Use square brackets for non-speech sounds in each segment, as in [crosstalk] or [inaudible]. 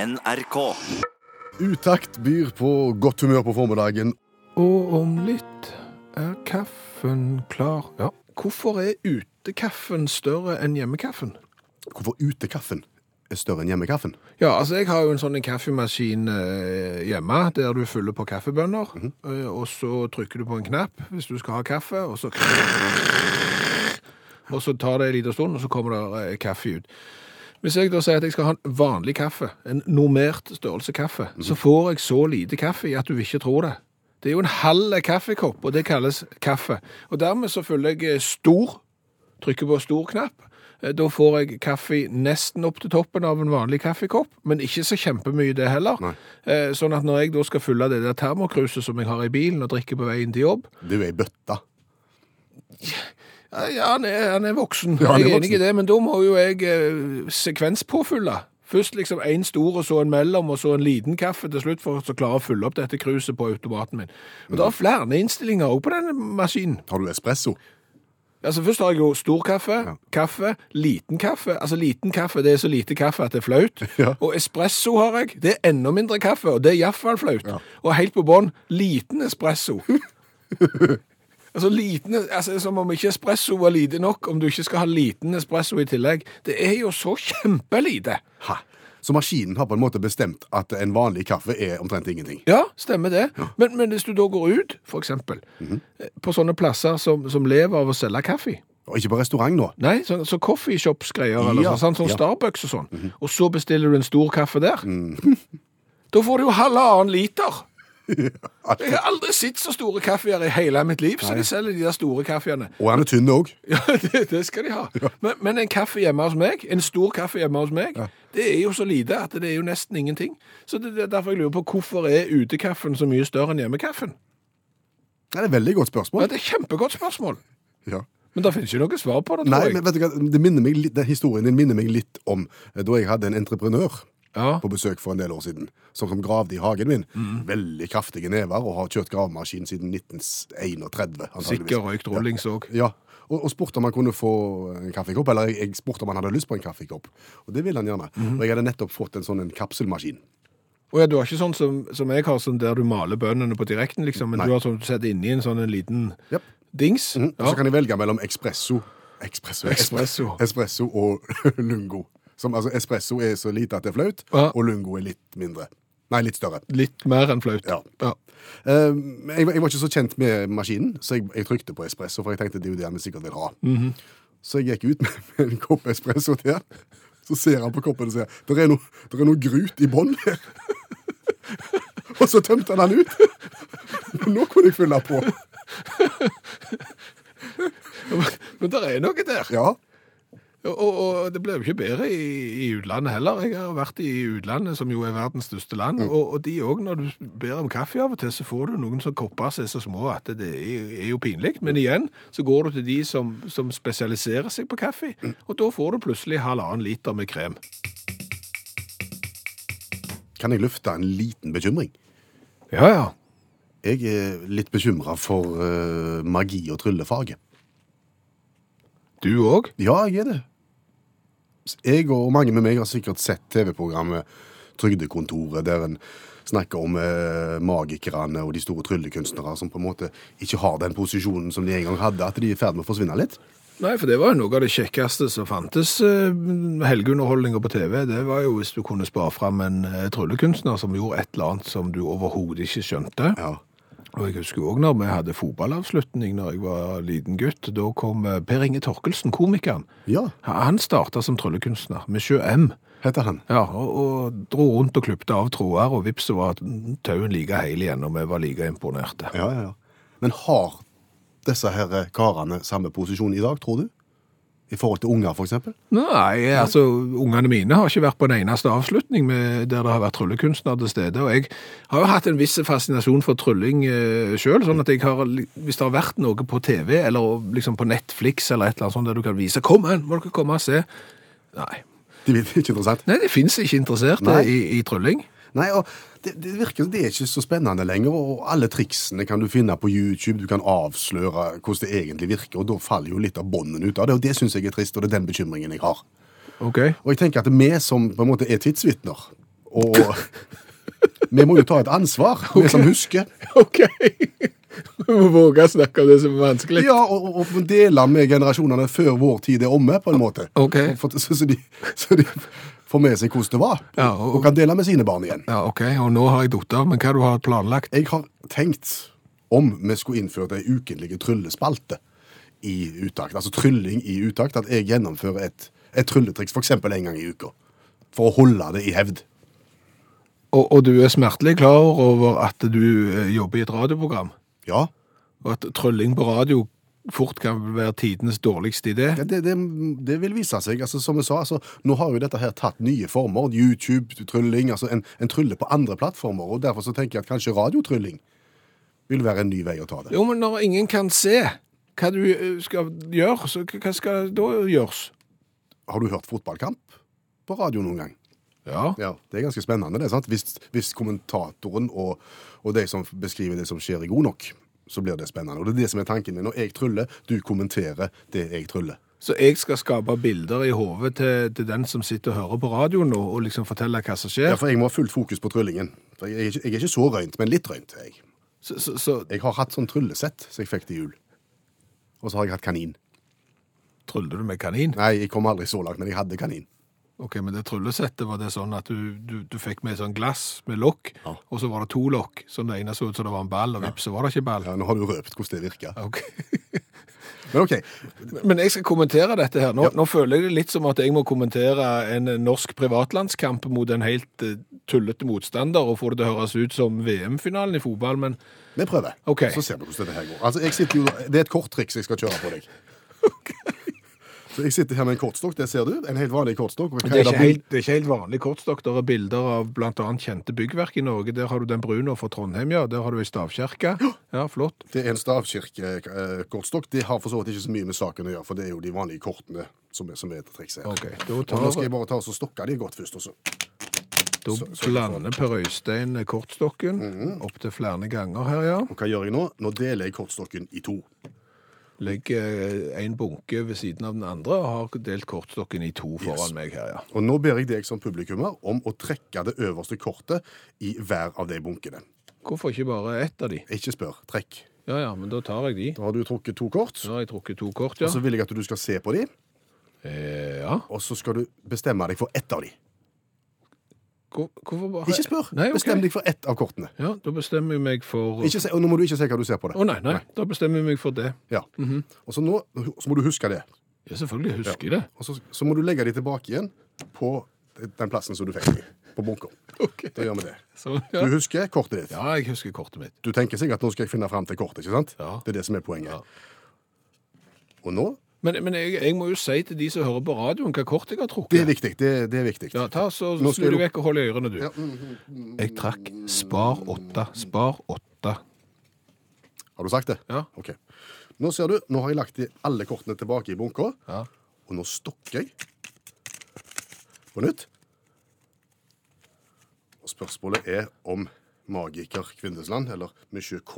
NRK. Utakt byr på godt humør på formiddagen. Og om litt er kaffen klar. Ja. Hvorfor er utekaffen større enn hjemmekaffen? Hvorfor utekaffen er større enn hjemmekaffen? Ja, altså jeg har jo en sånn en kaffemaskin eh, hjemme, der du fyller på kaffebønner, eh, og så trykker du på en knapp hvis du skal ha kaffe, og så... Og så tar det en liten stund, og så kommer det eh, kaffe ut. Hvis jeg da sier at jeg skal ha en vanlig kaffe, en normert størrelse kaffe, så får jeg så lite kaffe i at du vil ikke tror det. Det er jo en halv kaffekopp, og det kalles kaffe. Og dermed så følger jeg eh, stor trykker på stor knapp. Eh, Da får jeg kaffe nesten opp til toppen av en vanlig kaffekopp, men ikke så kjempemye det heller. Nei. Eh, Sånn at når jeg da skal fylle det der termokruset som jeg har i bilen og drikker på veien til jobb, Det er jo ei bøtte. eh, ja, han er, han er voksen. Ja, han er jeg er enig voksen. i det, men da må jo jeg eh, sekvenspåfylle. Først liksom en stor, og så en mellom, og så en liten kaffe til slutt, for å så klare å fylle opp dette kruset på automaten min. Mm. Og det er flere innstillinger også på denne maskinen. Har du espresso? Altså Først har jeg jo stor kaffe, kaffe, liten kaffe. Altså Liten kaffe det er så lite kaffe at det er flaut. Ja. Og espresso har jeg. Det er enda mindre kaffe, og det er iallfall flaut. Og helt på bånn liten espresso. altså liten, altså det er Som om ikke espresso var lite nok, om du ikke skal ha liten espresso i tillegg. Det er jo så kjempelite. Ha. Så maskinen har på en måte bestemt at en vanlig kaffe er omtrent ingenting. Ja, stemmer det. Men, men hvis du da går ut, for eksempel, eh, på sånne plasser som, som lever av å selge kaffe Og ikke på restaurant nå. Nei, så, så coffeeshops-greier, eller Ja, sånn, sånn, sånn ja. Mhm. Starbucks og sånn. Og så bestiller du en stor kaffe der. Mm. [laughs] Da får du jo halvannen liter. Jeg har aldri sett så store kaffeer i hele mitt liv, så de selger de der store kaffeene. [laughs] Og han er tynn òg. Ja, det, det skal de ha. Men, men en kaffe hjemme hos meg, en stor kaffe hjemme hos meg, det er jo så lite at det er jo nesten ingenting. Så det, det er derfor jeg lurer på hvorfor er utekaffen så mye større enn hjemmekaffen? Det er et veldig godt Ja, spørsmål. det er et kjempegodt spørsmål. Ja. Men det finnes ikke noe svar på det, tror Nei, jeg. men vet du hva, det minner meg litt, den historien din minner meg litt om eh, da jeg hadde en entreprenør Ja. på besøk for en del år siden, som, som gravde i hagen min. Mm. Veldig kraftige never, og har kjørt gravemaskin siden 1931. antageligvis. Sikker røykt rollings òg. Ja, og, og spurte om han kunne få en kaffekopp, eller jeg, jeg spurte om han hadde lyst på en kaffekopp. Og det ville han gjerne. Og jeg hadde nettopp fått en sånn en kapselmaskin. Og ja, du har ikke sånn som, som jeg har, sånn der du maler bøndene på direkten, liksom, men du har sånn du setter inni en sånn en liten Japp. dings. Mhm, Og så kan jeg velge mellom espresso, espresso, Espresso. [laughs] espresso og [laughs] lungo. Som, altså, espresso er så lite at det er flaut, Ja. og lungo er litt mindre. Nei, litt større. Litt mer enn flaut. Ja. Eh, men jeg, var- jeg var ikke så kjent med maskinen, så jeg, jeg trykte på espresso, for jeg tenkte det er jo det han sikkert vil ha. Så jeg gikk ut med, [laughs] med en kopp espresso til. Så ser han på koppen og sier det er, noe- der er noe grut i bånn her. [laughs] og så tømte han den ut. [laughs] Nå kunne jeg fylle på. [laughs] Men det er noe der. Ja, Og, og, og det blir jo ikke bedre i, i utlandet heller. Jeg har vært i utlandet, som jo er verdens største land, Mm. og, og de òg, når du ber om kaffe av og til, så får du noen som kopper seg så små at det er, er jo pinlig. Men igjen så går du til de som, som spesialiserer seg på kaffe, Mm. og da får du plutselig halvannen liter med krem. Kan jeg lufte en liten bekymring? Ja, ja. Jeg er litt bekymra for eh, magi- og tryllefaget. Du òg? Ja, jeg er det. Jeg og mange med meg har sikkert sett TV-programmet Trygdekontoret, der en snakker om eh, magikerne og de store tryllekunstnere som på en måte ikke har den posisjonen som de en gang hadde, at de er i ferd med å forsvinne litt. Nei, for det var jo noe av det kjekkeste som fantes eh, helgeunderholdninger på TV. Det var jo hvis du kunne spare fram en eh, tryllekunstner som gjorde et eller annet som du overhodet ikke skjønte. Ja. Og jeg husker òg når vi hadde fotballavslutning når jeg var liten gutt. Da kom eh, Per Inge Torkelsen, komikeren. ja Han starta som tryllekunstner med Sjø M. heter han. Ja, og, og dro rundt og klipte av tråder, og vips så var tauen like heil igjen, og vi var like imponerte. Ja, ja, ja. Men har disse her eh, karene samme posisjon i dag, tror du? I forhold til unger, for eksempel? Nei, altså, ungene mine har ikke vært på en eneste avslutning med, der det har vært tryllekunstner til stede, og jeg har jo hatt en viss fascinasjon for trylling eh, selv, sånn at jeg har, hvis det har vært noe på TV, eller liksom på Netflix, eller et eller annet sånt, der du kan vise, kom her, må dere komme og se. Nei, Det er ikke interessant. Nei de finnes ikke interesserte Nei. i, i trylling. Nei, og det, det virker som det er ikke så spennende lenger, og alle triksene kan du finne på YouTube, du kan avsløre hvordan det egentlig virker, og da faller jo litt av bånden ut av det, og det synes jeg er trist, og det er den bekymringen jeg har. Ok. Og jeg tenker at vi som på en måte er tidsvitner, [laughs] og Vi må jo ta et ansvar, vi som husker. [laughs] OK! Vi må våge å snakke om det som er vanskelig. Ja, og, og- og dele med generasjonene før vår tid er omme, på en måte. Ok. For, så, så, de, så de får med seg hvordan det var, Ja, og, og- kan dele med sine barn igjen. Ja, OK, og nå har jeg datt av, men hva du har planlagt? Jeg har tenkt om vi skulle innført ei ukentlig tryllespalte i utakt, altså trylling i utakt, at jeg gjennomfører et, et trylletriks f.eks. en gang i uka. For å holde det i hevd. Og, og du er smertelig klar over at du eh, jobber i et radioprogram, Ja, og at trylling på radio fort kan være tidenes dårligste idé. Ja, det, det, det vil vise seg. Altså, som jeg sa, altså, nå har jo dette her tatt nye former. YouTube-trylling, altså en, en trylle på andre plattformer. og Derfor så tenker jeg at kanskje radiotrylling vil være en ny vei å ta det. Jo, men når ingen kan se hva du eh, skal gjøre, så hva skal da gjøres? Har du hørt fotballkamp på radio noen gang? Ja. Ja, Det er ganske spennende, det. sant? Hvis, hvis kommentatoren og, og de som beskriver det som skjer, er god nok, så blir det spennende. Og det er det som er tanken min. Når jeg tryller, du kommenterer det jeg tryller. Så jeg skal skape bilder i hodet til, til den som sitter og hører på radioen nå, og liksom fortelle hva Ja, som skjer. for jeg må ha fullt fokus på tryllingen. For Jeg er ikke, jeg er ikke så røynt, men litt røynt. er jeg. Så, så, så Jeg har hatt sånn tryllesett som jeg fikk til jul. Og så har jeg hatt kanin. tryller du med kanin. Nei, jeg kom aldri så langt, men jeg hadde kanin. Ok, men det tryllesettet var det sånn at du, du, du fikk med et sånn glass med lokk, Ja. og så var det to lokk, så det ene så ut som det var en ball, og vips, så var det ikke ball. Ja, nå har du røpt hvordan det virker. Ok. Men ok, Men jeg skal kommentere dette her. Nå, nå føler jeg det litt som at jeg må kommentere en norsk privatlandskamp mot en helt eh, tullete motstander, og får det til å høres ut som VM-finalen i fotball, men vi prøver. Ok. Så ser vi hvordan dette her går. Altså, jeg sitter jo, det er et korttriks jeg skal kjøre på deg. Så jeg sitter her med en kortstokk, det ser du. En helt vanlig kortstokk. det er, ikke helt, det er ikke helt vanlig kortstokk. Det er bilder av bl.a. kjente byggverk i Norge. Der har du den brune fra Trondheim, ja. Der har du ei stavkirke. Ja, flott. Det er en stavkirkekortstokk. Det har for så vidt ikke så mye med saken å gjøre, for det er jo de vanlige kortene som er, som er et triks her. Ok, Og Da, nå skal tar, jeg bare ta og så stokke de godt først, og så da blander Per Øystein kortstokken opptil flere ganger her, ja. Og hva gjør jeg nå? Nå deler jeg kortstokken i to. Legger eh, en bunke ved siden av den andre og har delt kortstokken i to foran meg her, ja. Og nå ber jeg deg som publikummer om å trekke det øverste kortet i hver av de bunkene. Hvorfor ikke bare ett av de? Ikke spør, trekk. Ja ja, men da Altså- tar jeg de. Da har du trukket to kort, Nå har jeg trukket to kort, ja. og så vil jeg at du skal se på dem, Eh, ja. og så skal du bestemme deg for ett av dem. Hvor, hvorfor bare Ikke spør, Nei, ok. bestem deg for ett av kortene. Ja, da bestemmer jeg meg for Å Ikke se, og nå må du ikke se hva du ser på det. nei, nei, Mhm. da bestemmer jeg meg for det. Ja. Og så nå så må du huske det. Ja, selvfølgelig husker jeg [laughs] det. Og så, så må du legge dem tilbake igjen på den plassen som du fikk dem, på bunker. Da gjør vi det. Så, Du ja. husker kortet ditt. ja, jeg husker kortet mitt. Du tenker sikkert at nå skal jeg finne fram til kortet, ikke sant? Ja. Det er det som er poenget. Og nå Men, men jeg, jeg må jo si til de som hører på radioen, hva kort jeg har Det er trukket. viktig. Det, det er viktig. Ja, ta så Nå Snu skal deg jeg vekk og hold i ørene, du. Jeg trakk spar åtte. Spar åtte. Har du sagt det? Ja. Ok. Nå ser du, nå har jeg lagt de alle kortene tilbake i bunker, Ja. og nå stokker jeg på nytt. Og spørsmålet er om magiker Kvindesland, eller Monsieur K,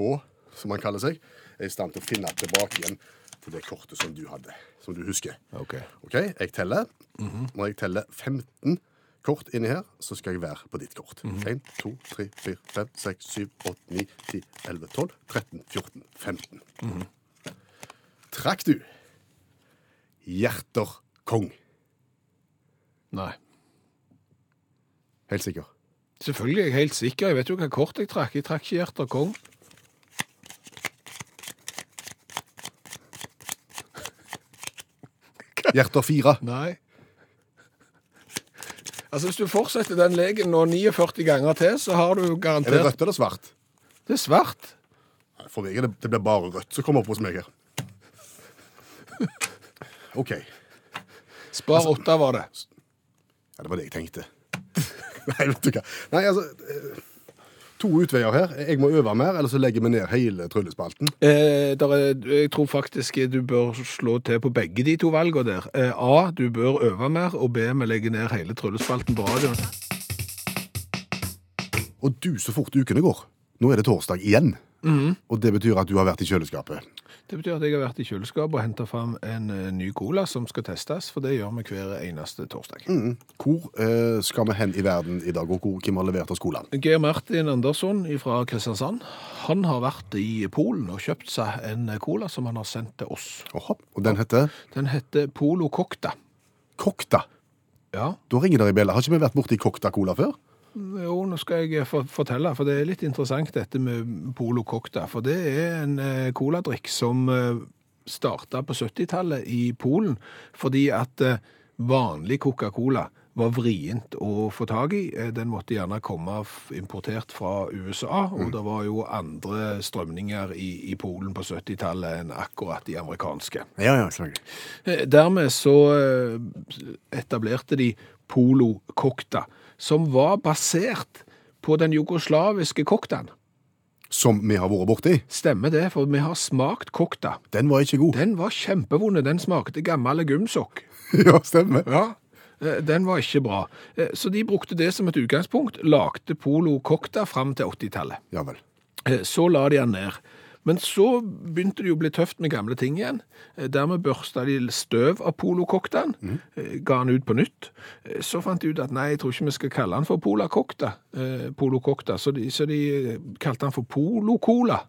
som han kaller seg, er i stand til å finne tilbake igjen til det kortet som du hadde, som du husker. OK. Ok, jeg teller. Når jeg teller 15 kort inni her, så skal jeg være på ditt kort. 1, 2, 3, 4, 5, 6, 7, 8, 9, 10, 11, 12, 13, 14, 15. Trakk du hjerter kong? Nei. Helt sikker. Selvfølgelig er jeg helt sikker. Jeg vet jo hva kort jeg trakk. Jeg trakk ikke Hjerter Kong. Hjerter fire. Nei. Altså, Hvis du fortsetter den leken nå 49 ganger til, så har du Er det garantert rødt eller svart? Det er svart. Nei, For meg er det, det blir bare rødt som kommer opp hos meg her. OK. Ja, Spar Altså- åtte var det. det var det jeg tenkte. [laughs] Nei, vet du hva. Nei, altså eh, To utveier her. Jeg må øve mer, eller så legger vi ned hele tryllespalten. Eh, der er, jeg tror faktisk du bør slå til på begge de to valgene der. Eh, A. Du bør øve mer, og B. Vi legger ned hele tryllespalten på radioen. Og Mhm. du, så fort ukene går. Nå er det torsdag igjen. Og det betyr at du har vært i kjøleskapet. Det betyr at jeg har vært i kjøleskapet og henta fram en eh, ny cola som skal testes, for det gjør vi hver eneste torsdag. Hvor eh, skal vi hen i verden i dag, og hvor, hvem har levert oss colaen? Geir Martin Andersson fra Kristiansand han har vært i Polen og kjøpt seg en cola som han har sendt til oss. Oha, og den heter Den heter Polo Cocta. Kokta. Ja, Da ringer det i bjella. Har ikke vi vært borti Kokta Cola før? jo, nå skal jeg for fortelle, for det er litt interessant dette med Polo Cocta. For det er en eh, coladrikk som eh, starta på 70-tallet i Polen, fordi at eh, vanlig Coca-Cola var vrient å få tak i. Eh, Den måtte gjerne komme f- importert fra USA, og det var jo andre strømninger i, i Polen på 70-tallet enn akkurat de amerikanske. Ja, ja, selvfølgelig. Eh, Dermed så eh, etablerte de Polo Cocta, som var basert på den jugoslaviske coctaen. Som vi har vært borti. Stemmer det, for vi har smakt cocta. Den var ikke god. [laughs] Den var kjempevond, den smakte gammel gumsokk. ja, stemmer. Ja. eh, Den var ikke bra. Eh, Så de brukte det som et utgangspunkt, lagde Polo Cocta fram til 80-tallet. Ja vel. Eh, Så la de han ned. Men så begynte det jo å bli tøft med gamle ting igjen. Eh, Dermed børsta de støv av polokoktaen, mm. ga han ut på nytt. Eh, Så fant de ut at nei, jeg tror ikke vi skal kalle han for polakokta, eh, polokokta. Så de, så de eh, kalte han for polokola.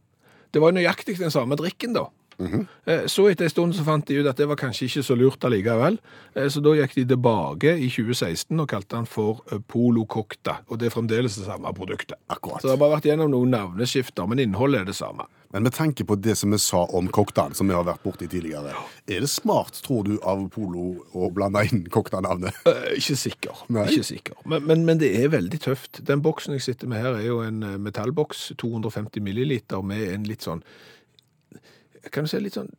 Det var jo nøyaktig den samme drikken da. Eh, Så etter en stund så fant de ut at det var kanskje ikke så lurt allikevel, Eh, så da gikk de tilbake i 2016 og kalte han for eh, Polo Cocta, og det er fremdeles det samme produktet. Akkurat. Så det har bare vært gjennom noen navneskifter, men innholdet er det samme. Men med tanke på det som vi sa om koktaen, som vi har vært borti tidligere, er det smart, tror du, av Polo å blande inn koktanavnet? Eh, Ikke sikker. Nei. Ikke sikker. Men, men, men det er veldig tøft. Den boksen jeg sitter med her er jo en eh, metallboks, 250 milliliter, med en litt sånn, kan du si litt sånn,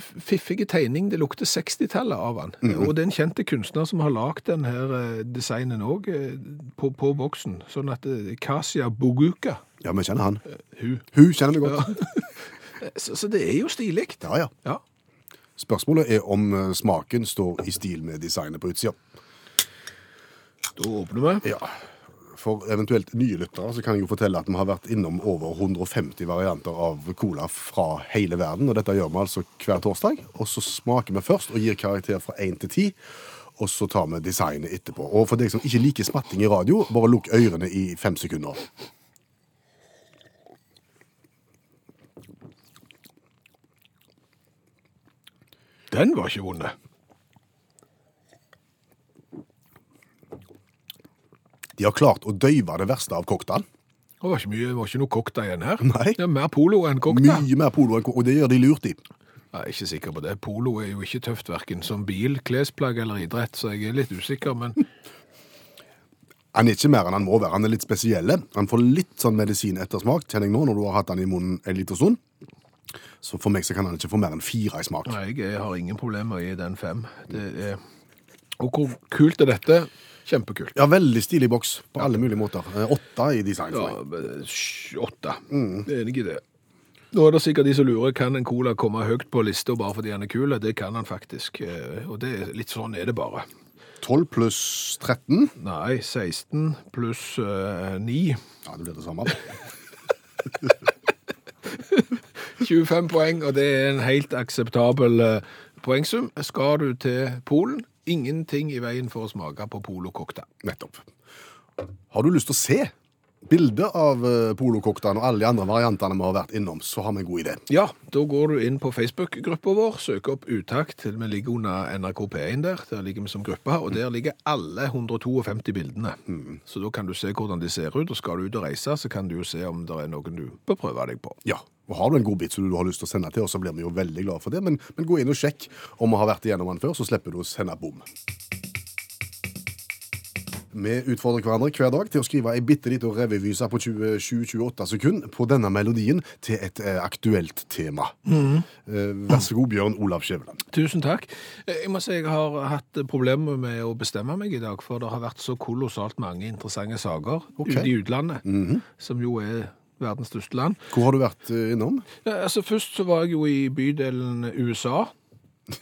fiffige tegning, det lukter 60-tallet av han. Og det er en kjente kunstner som har lagt den her eh, designen også eh, på, på boksen, sånn at eh, Kasia Boguka, [laughs] Ja, vi kjenner han. hun. Hun kjenner vi godt. Eh, Så, så det er jo stilikt. Ja, ja. Ja. Spørsmålet er om eh, smaken står i stil med designet på utsida. Da åpner vi. Ja. For eventuelt nye lyttere så kan jeg jo fortelle at vi har vært innom over 150 varianter av cola fra hele verden. Og dette gjør vi altså hver torsdag. Og så smaker vi først og gir karakter fra 1 til 10. Og så tar vi designet etterpå. Og for deg som ikke liker smatting i radio, bare lukk ørene i fem sekunder. Eh, Den var ikke vunnet. De har klart å døyve det verste av cocktail. Det var ikke, mye, det var ikke noe kokta igjen her. Nei. Det er mer polo enn kokta. Mye mer polo enn cocktail, og det gjør de lurt i. Jeg er ikke sikker på det. Polo er jo ikke tøft verken som bil, klesplagg eller idrett, så jeg er litt usikker, [laughs] men Han er ikke mer enn han må være. Han er litt spesielle. Han får litt sånn medisin etter smak, kjenner jeg nå, når du har hatt han i munnen en liten stund. Så for meg så kan han ikke få mer enn fire i smak. nei, jeg har ingen problemer i den fem. Det er... Og hvor kult er dette? Kjempekult. Ja, veldig stilig boks på alle mulige måter. Eh, Åtte i design Ja, for meg. men, sj, åtte. Mm. Det er enig i det. Nå er det sikkert de som lurer, kan en cola komme høyt på lista bare fordi han er kul? Det kan han faktisk, eh, og det er litt sånn er det bare. 12 pluss 13. Nei, 16 pluss eh, 9. Ja, det blir det samme. 25 poeng, og det er en helt akseptabel eh, poengsum. Skal du til Polen, ingenting i veien for å smake på polokokta. Nettopp. Har du lyst til å se bildet av eh, polokoktene og alle de andre variantene vi har vært innom, så har vi en god idé. Ja, da går du inn på Facebook-gruppa vår, søker opp Utakt. Vi ligger under NRK P1 der. Der ligger vi som gruppe, og der ligger alle 152 bildene. Så da kan du se hvordan de ser ut, og skal du ut og reise, så kan du jo se om det er noen du bør prøve deg på. Ja, og Har du en god bit som du har lyst til å sende til oss, så blir vi jo veldig glad for det. Men, men gå inn og sjekk om vi har vært igjennom den før, så slipper du å sende bom. Vi utfordrer hverandre hver dag til å skrive ei bitte lita revyvise på 27-28 sekunder på denne melodien til et eh, aktuelt tema. Mm. Eh, vær så god, Bjørn Olav Skjæveland. Tusen takk. Eh, Jeg må si jeg har hatt problemer med å bestemme meg i dag, for det har vært så kolossalt mange interessante saker Ok. Mhm. ute i utlandet, som jo er verdens største land. Hvor har du vært eh, innom? [laughs] Ja, altså Først så var jeg jo i bydelen USA.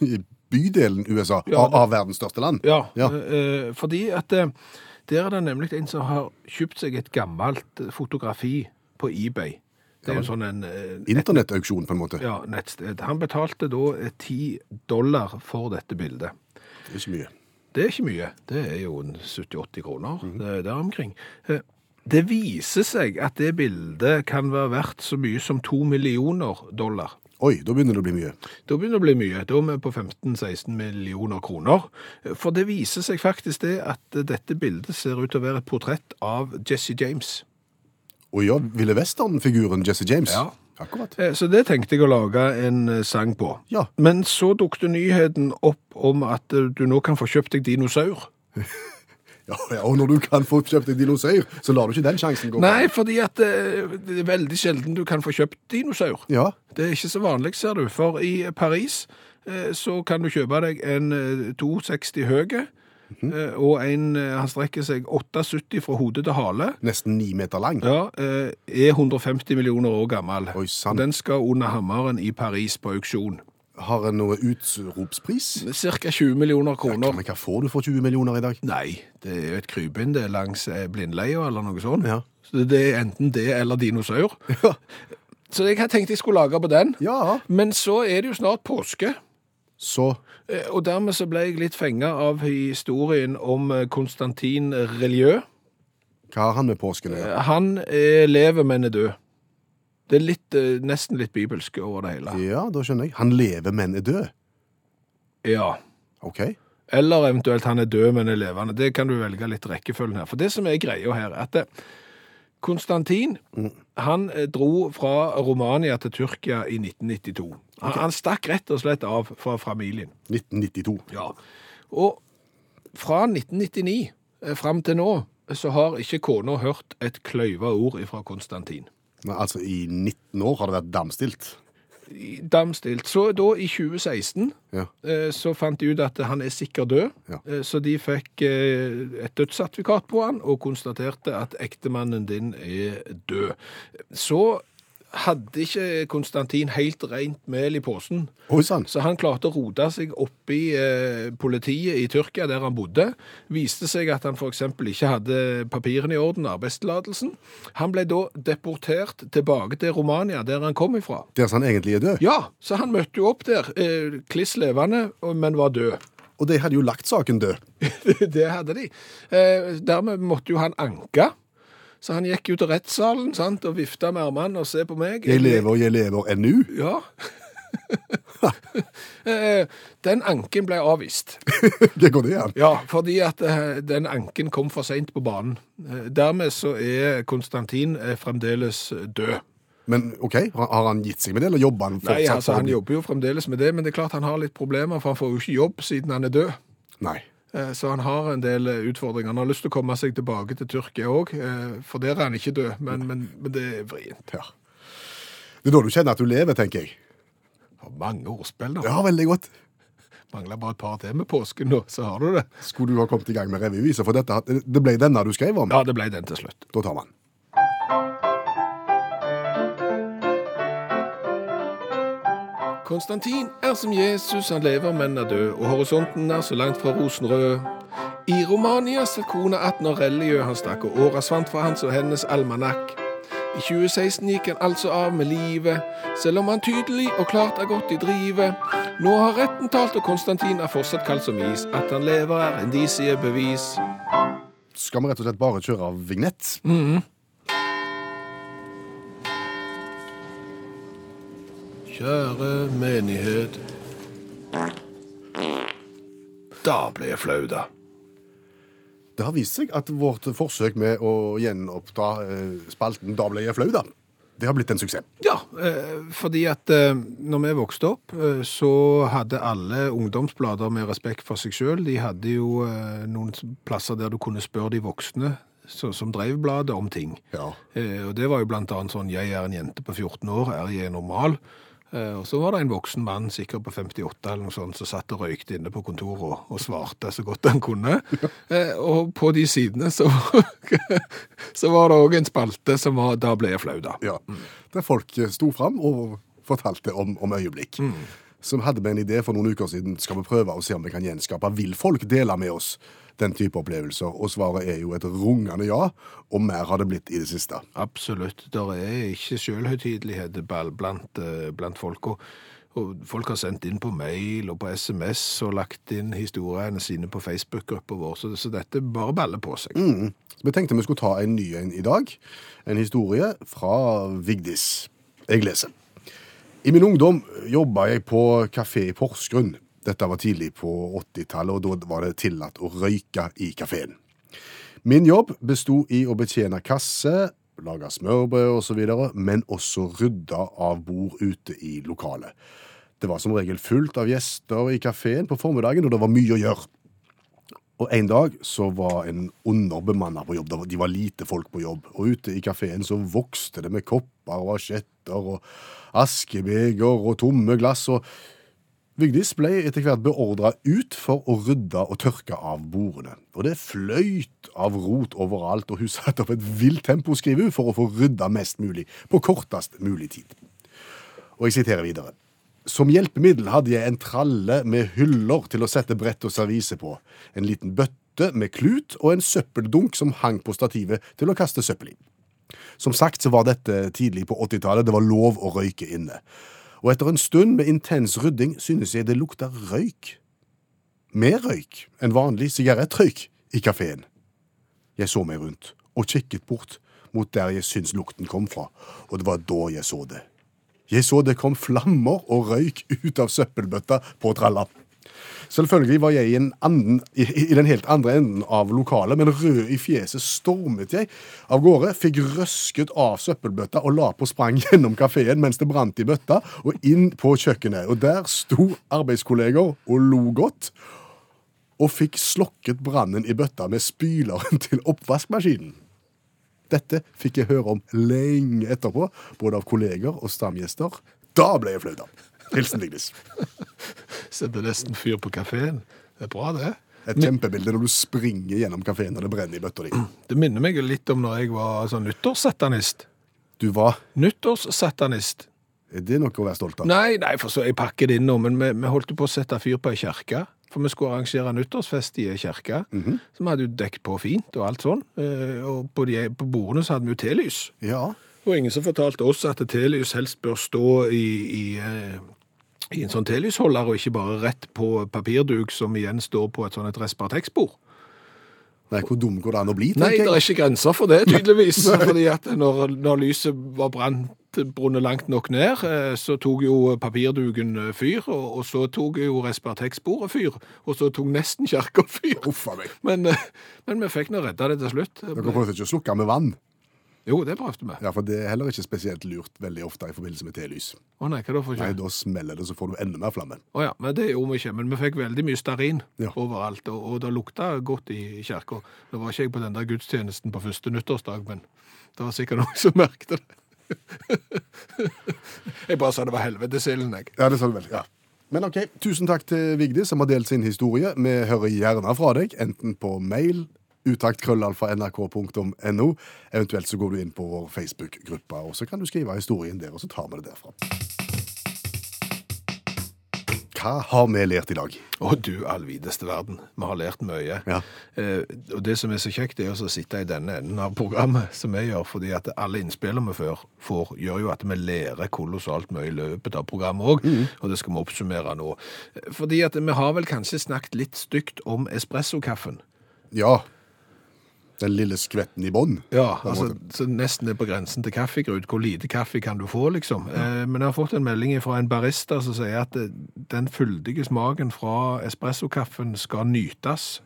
I bydelen USA, Ja, av, av verdens største land? Ja, Ja. eh, eh, fordi at eh, der er det nemlig en som har kjøpt seg et gammelt fotografi på eBay Det er jo sånn en eh, Internettauksjon, på en måte. ja, nettsted. Han betalte da eh, 10 dollar for dette bildet. Det er ikke mye. Det er ikke mye. Det er jo en 70-80 kroner eh, der omkring. Eh, Det viser seg at det bildet kan være verdt så mye som 2 millioner dollar. Oi, da begynner det å bli mye. Da begynner det å bli mye. Da er vi på 15-16 millioner kroner. Eh, For det viser seg faktisk det at eh, dette bildet ser ut til å være et portrett av Jesse James. Å ja, Ville Western-figuren Jesse James. Ja. Akkurat. Eh, Så det tenkte jeg å lage en eh, sang på. Ja. Men så dukte nyheten opp om at eh, du nå kan få kjøpt deg dinosaur. Ja, ja, og når du kan få kjøpt en dinosaur, så lar du ikke den sjansen gå. Nei, fordi at eh, det er veldig sjelden du kan få kjøpt dinosaur. Ja, Det er ikke så vanlig, ser du. For i Paris eh, så kan du kjøpe deg en eh, 260 høye, Mhm. eh, og en eh, han strekker seg 870 fra hode til hale. Nesten ni meter lang. Ja, eh, er 150 millioner år gammel. Oi, sant. Den skal under hammeren i Paris på auksjon. Har en noe utropspris? Cirka 20 millioner kroner. Men hva får du for 20 millioner i dag? Nei, det er jo et krypinn det er langs eh, blindleia eller noe sånt. Ja. Så det er enten det eller dinosaur. Så jeg hadde tenkt jeg skulle lage på den. Ja. Men så er det jo snart påske. Så eh, Og dermed så ble jeg litt fenga av historien om eh, Konstantin Relieu. hva har han med påsken å gjøre? Han eh, lever, men er død. Det er litt, eh, nesten litt bibelsk over det hele. Ja, da skjønner jeg. Han lever, men er død. Ja. OK. Eller eventuelt han er død, men er levende. Det kan du velge litt rekkefølgen her. For det som er greia her, er at det- Konstantin han eh, dro fra Romania til Tyrkia i 1992. Han, han stakk rett og slett av fra familien. 1992. Og fra 1999 eh, fram til nå så har ikke kona hørt et kløyva ord fra Konstantin. Nei, altså, i 19 år har det vært damstilt. I- Damstilt. Så da, i 2016, Ja. eh, så fant de ut at han er sikkert død, Ja. Eh, så de fikk eh, et dødssertifikat på han og konstaterte at ektemannen din er død. Så hadde ikke Konstantin helt rent mel i posen, Oi sann. så han klarte å rote seg opp i eh, politiet i Tyrkia, der han bodde. Viste seg at han f.eks. ikke hadde papirene i orden, arbeidstillatelsen. Han ble da deportert tilbake til Romania, der han kom ifra. Der som han egentlig er død. Ja, så han møtte jo opp der, eh, kliss levende, og- men var død. [laughs] Og de hadde jo lagt saken død. det hadde de. Eh, dermed måtte jo han anke. Så han gikk jo til rettssalen sant, og vifta med armene og se på meg. Jeg lever og jeg lever ennu. Ja. [laughs] Eh, den anken ble avvist. [laughs] Det går det an. Ja, fordi at eh, den anken kom for seint på banen. Eh, dermed så er Konstantin eh, fremdeles død. Men OK, har har han gitt seg med det, eller jobber han fortsatt? Nei, altså for å Han bli- jobber jo fremdeles med det, men det er klart han har litt problemer, for han får jo ikke jobb siden han er død. Nei. Eh, Så han har en del eh, utfordringer. Han har lyst til å komme seg tilbake til Tyrkia òg, for der er han ikke død. Men, men, men det er vrient. Ja. Det er da du kjenner at du lever, tenker jeg. Har mange ordspill, da. Ja, veldig godt. Mangler bare et par til med påsken nå, så har du det. Skulle du ha kommet i gang med revyviser, for dette, det ble denne du skrev om. Ja, det ble den til slutt. Da tar man. Konstantin er som Jesus, han lever, men er død, og horisonten er så langt fra rosenrød. I Romania satt kona atten år religiø, han stakk, og åra svant fra hans og hennes almanakk. I 2016 gikk han altså av med livet, selv om han tydelig og klart er godt i drivet. Nå har retten talt, og Konstantin er fortsatt kald som is. At han lever er indisie bevis. Skal vi rett og slett bare kjøre av vignett? Mm. Kjære menighet. Da ble jeg flau, da. Det har vist seg at vårt forsøk med å gjenoppta eh, spalten Da ble jeg flau, da, det har blitt en suksess. Ja, eh, fordi at eh, når vi vokste opp, eh, så hadde alle ungdomsblader med respekt for seg sjøl. De hadde jo eh, noen plasser der du kunne spørre de voksne så, som drev bladet, om ting. Ja. Eh, og det var jo blant annet sånn 'Jeg er en jente på 14 år, er jeg normal?' Eh, og så var det en voksen mann, sikkert på 58 eller noe sånt, som satt og røykte inne på kontoret og, og svarte så godt han kunne. Eh, og på de sidene så, [laughs] så var det òg en spalte som var 'Da ble jeg flau', da. ja. Der folk eh, sto fram og fortalte om, om øyeblikk. Som hadde med en idé for noen uker siden. Skal vi prøve å se om vi kan gjenskape? Vil folk dele med oss den type opplevelser? Og svaret er jo et rungende ja, og mer har det blitt i det siste. Absolutt. Det er ikke selvhøytidelighet bal- blant, eh, blant folk. Og, og folk har sendt inn på mail og på SMS og lagt inn historiene sine på Facebook-gruppa vår, så, så dette bare baller på seg. Mm. Så vi tenkte vi skulle ta en ny en i dag. En historie fra Vigdis. Jeg leser. I min ungdom jobba jeg på kafé i Porsgrunn. Dette var tidlig på 80-tallet, og da var det tillatt å røyke i kafeen. Min jobb besto i å betjene kasse, lage smørbrød osv., og men også rydde av bord ute i lokalet. Det var som regel fullt av gjester i kafeen på formiddagen, og det var mye å gjøre. Og en dag så var en underbemannet på jobb. Det var- De var lite folk på jobb. Og ute i kafeen så vokste det med kopper og asjetter og askebeger og tomme glass. Og Vigdis ble etter hvert beordra ut for å rydde og tørke av bordene. Og det fløyt av rot overalt, og hun satte opp et vilt tempo, skriver hun, for å få rydda mest mulig på kortest mulig tid. Og jeg siterer videre. Som hjelpemiddel hadde jeg en tralle med hyller til å sette brett og servise på, en liten bøtte med klut og en søppeldunk som hang på stativet til å kaste søppel i. Som sagt så var dette tidlig på 80-tallet, det var lov å røyke inne. Og etter en stund med intens rydding synes jeg det lukta røyk. Mer røyk enn vanlig sigarettrøyk i kafeen. Jeg så meg rundt og kikket bort mot der jeg syns lukten kom fra, og det var da jeg så det. Jeg så det kom flammer og røyk ut av søppelbøtta på tralla. Selvfølgelig var jeg i, en anden, i, i den helt andre enden av lokalet, men rød i fjeset stormet jeg av gårde, fikk røsket av søppelbøtta og la på sprang [laughs] gjennom kafeen mens det brant i bøtta, og inn på kjøkkenet. Og der sto arbeidskolleger og lo godt, og fikk slokket brannen i bøtta med spyleren [laughs] til oppvaskmaskinen. Dette fikk jeg høre om lenge etterpå, både av kolleger og stamgjester. Da ble jeg flau, da. Hilsen Vigdis. Setter nesten fyr på kafeen. Det er bra, det. Et kjempebilde når du springer gjennom kafeen og det brenner i bøtta di. Det minner meg jo litt om når jeg var sånn nyttårssatanist. Du var Nyttårssatanist. Er det noe å være stolt av? Nei, nei, for så jeg pakker det inn nå, men vi, vi holdt jo på å sette fyr på ei kjerke. For vi skulle arrangere nyttårsfest i ei kjerke, så vi hadde jo dekket på fint og alt sånn. Eh, Og på, de, på bordene så hadde vi jo telys. Ja. Og ingen som fortalte oss at telys helst bør stå i, i, eh, i en sånn telysholder, og ikke bare rett på papirduk som igjen står på et sånn et Respartex-bord. Nei, hvor dum går det an å bli, Nei, det tenker er jeg. ikke grenser for det, tydeligvis. fordi at når, når lyset var brant, brunnet langt nok ned, eh, så tok jo papirduken eh, fyr, og, og så tok jo Respartex-bordet fyr, og så tok nesten kjerka [laughs] fyr. Uff a meg. Men, eh, men vi fikk nå redda det til slutt. Dere prøvde ikke å slukke med vann. Jo, det prøvde vi. Å Ja, For det er heller ikke spesielt lurt veldig ofte i forbindelse med telys. nei, hva da for Nei, kjøtt? Da smeller det, så får du enda mer flamme. Å ja, men det gjorde vi ikke. Men vi fikk veldig mye stearin Ja. overalt, og, og det lukta godt i kjerka. Nå var ikke jeg på den der gudstjenesten på første nyttårsdag, men det var sikkert noen som merket det. [laughs] jeg bare sa det var helvetesilden, jeg. Ja, det sa du vel. ja. Men ok, tusen takk til Vigdis som har delt sin historie. Vi hører gjerne fra deg, enten på mail, utaktkrøllalfa.nrk.no, eventuelt så går du inn på vår Facebook-gruppe, og så kan du skrive historien der, og så tar vi det derfra. Hva har vi lært i dag? Å du allvideste verden, vi har lært mye. Ja. Eh, og det som er så kjekt, det er også å sitte i denne enden av programmet, som vi gjør, fordi at alle innspillene vi før får, gjør jo at vi lærer kolossalt mye i løpet av programmet òg, og det skal vi oppsummere nå. Eh, Fordi at vi har vel kanskje snakket litt stygt om espressokaffen. Ja, den lille skvetten i bånd. Ja, altså, så nesten er på grensen til kaffegrut. Hvor lite kaffe kan du få, liksom? Eh, men jeg har fått en melding fra en barista som sier at eh, den fyldige smaken fra espressokaffen skal nytes,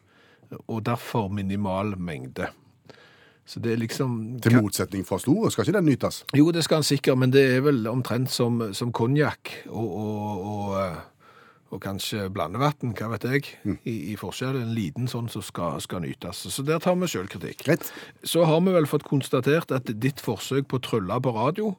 og derfor minimal mengde. Så det er liksom Til motsetning fra store, skal ikke den nytes? Jo, det skal han sikkert, men det er vel omtrent som, som konjakk og, og, og, eh, og kanskje blandevann, hva vet jeg, i, i forskjell. En liten sånn som skal, skal nytes. Så der tar vi sjølkritikk. Greit. Så har vi vel fått konstatert at ditt forsøk på å trylle på radio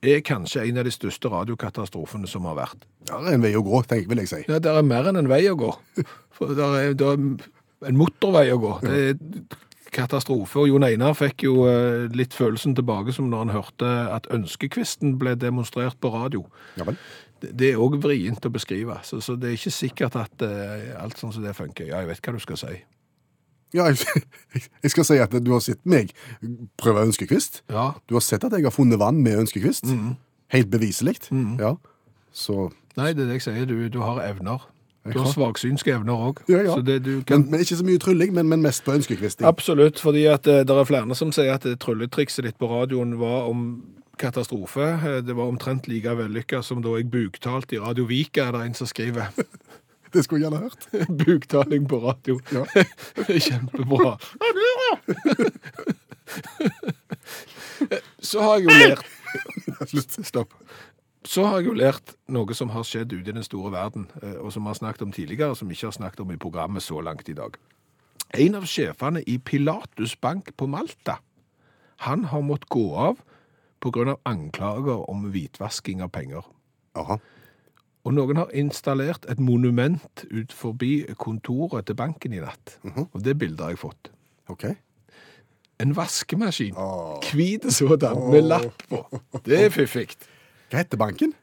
er kanskje en av de største radiokatastrofene som har vært. Ja, det er en vei å gå, tenker, vil jeg si. Ja, det er mer enn en vei å gå. [laughs] For det er, der er en motorvei å gå. Det er katastrofe. Og Jon Einar fikk jo eh, litt følelsen tilbake som når han hørte at ønskekvisten ble demonstrert på radio. Ja vel. Det det er òg vrient å beskrive, så, så det er ikke sikkert at eh, alt sånn som det funker. Ja, jeg vet hva du skal si. Ja, jeg, jeg skal si at du har sett meg prøve ønskekvist. Ja. Du har sett at jeg har funnet vann med ønskekvist. Mm. Helt beviselig. Ja. Så Nei, det er det jeg sier. Du, du har evner. Du har har- svaksynske evner òg. Ja, ja. Så det du kan men, men ikke så mye trylling, men, men mest på ønskekvisting. Absolutt, fordi at eh, det er flere som sier at eh, trylletrikset ditt på radioen var om katastrofe. Eh, Det var omtrent like vellykka som da jeg buktalte i Radio Vika, er det en som skriver. [laughs] Det skulle jeg gjerne hørt. Buktaling på radio. Ja. [laughs] Kjempebra. [laughs] Så har jeg jo lært Slutt. Stopp. Så har jeg jo lært noe som har skjedd ute i den store verden, eh, og som vi har snakket om tidligere, og som vi ikke har snakket om i programmet så langt i dag. En av sjefene i Pilatus Bank på Malta, han har måttet gå av på grunn av anklager om hvitvasking av penger. Aha. Og noen har installert et monument ut forbi kontoret til banken i natt. Og det bildet har jeg fått. OK. En vaskemaskin. Åh. Hvit sådan, med lapp på. Det er fiffig. Hva heter banken?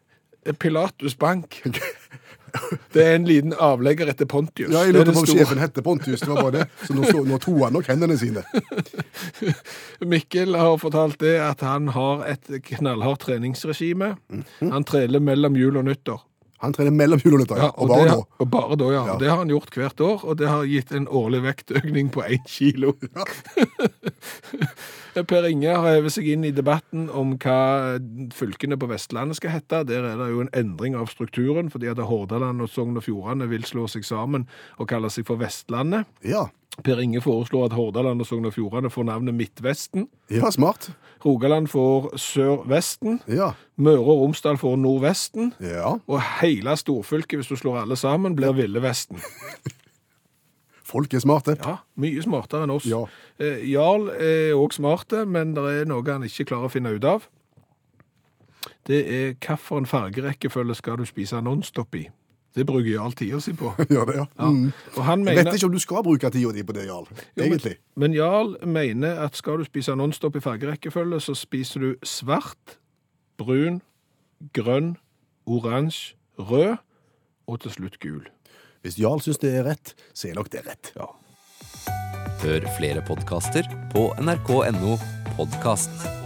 Pilatus Bank. Det er en liten avlegger etter Pontius. Ja, jeg det er lurte den på om store. sjefen hette Pontius. Det var bare det. Så nå, står- nå toer han nok hendene sine. Mikkel har fortalt det at han har et knallhardt treningsregime. Mm. Han treler mellom jul og nyttår. Han trener mellom jul og nyttår. Ja, og det, bare nå. og bare da, ja. Ja. Og det har han gjort hvert år, og det har gitt en årlig vektøkning på én [laughs] kilo. [laughs] per Inge har hevet seg inn i debatten om hva fylkene på Vestlandet skal hete. Der er det jo en endring av strukturen, fordi at Hordaland og Sogn og Fjordane vil slå seg sammen og kalle seg for Vestlandet. Ja. Per Inge foreslår at Hordaland og Sogn og Fjordane får navnet Midtvesten. ja, smart. Rogaland får Sørvesten. Ja. Møre og Romsdal får Nordvesten. ja. Og hele storfylket, hvis du slår alle sammen, blir Ville Vesten. Folk er smarte. Ja, mye smartere enn oss. Ja. Eh, Jarl er òg smarte, men det er noe han ikke klarer å finne ut av. Det er hvilken fargerekkefølge skal du spise nonstop i? Det bruker Jarl tida si [laughs] på. Gjør det, ja. Ja. Mm. Og han Jeg vet mener, ikke om du skal bruke tida di på det, Jarl. Egentlig. men Jarl mener at skal du spise nonstop i fargerekkefølge, så spiser du svart, brun, grønn, oransje, rød og til slutt gul. Hvis Jarl syns det er rett, så er nok det rett. Ja. Hør flere podkaster på nrk.no podkast.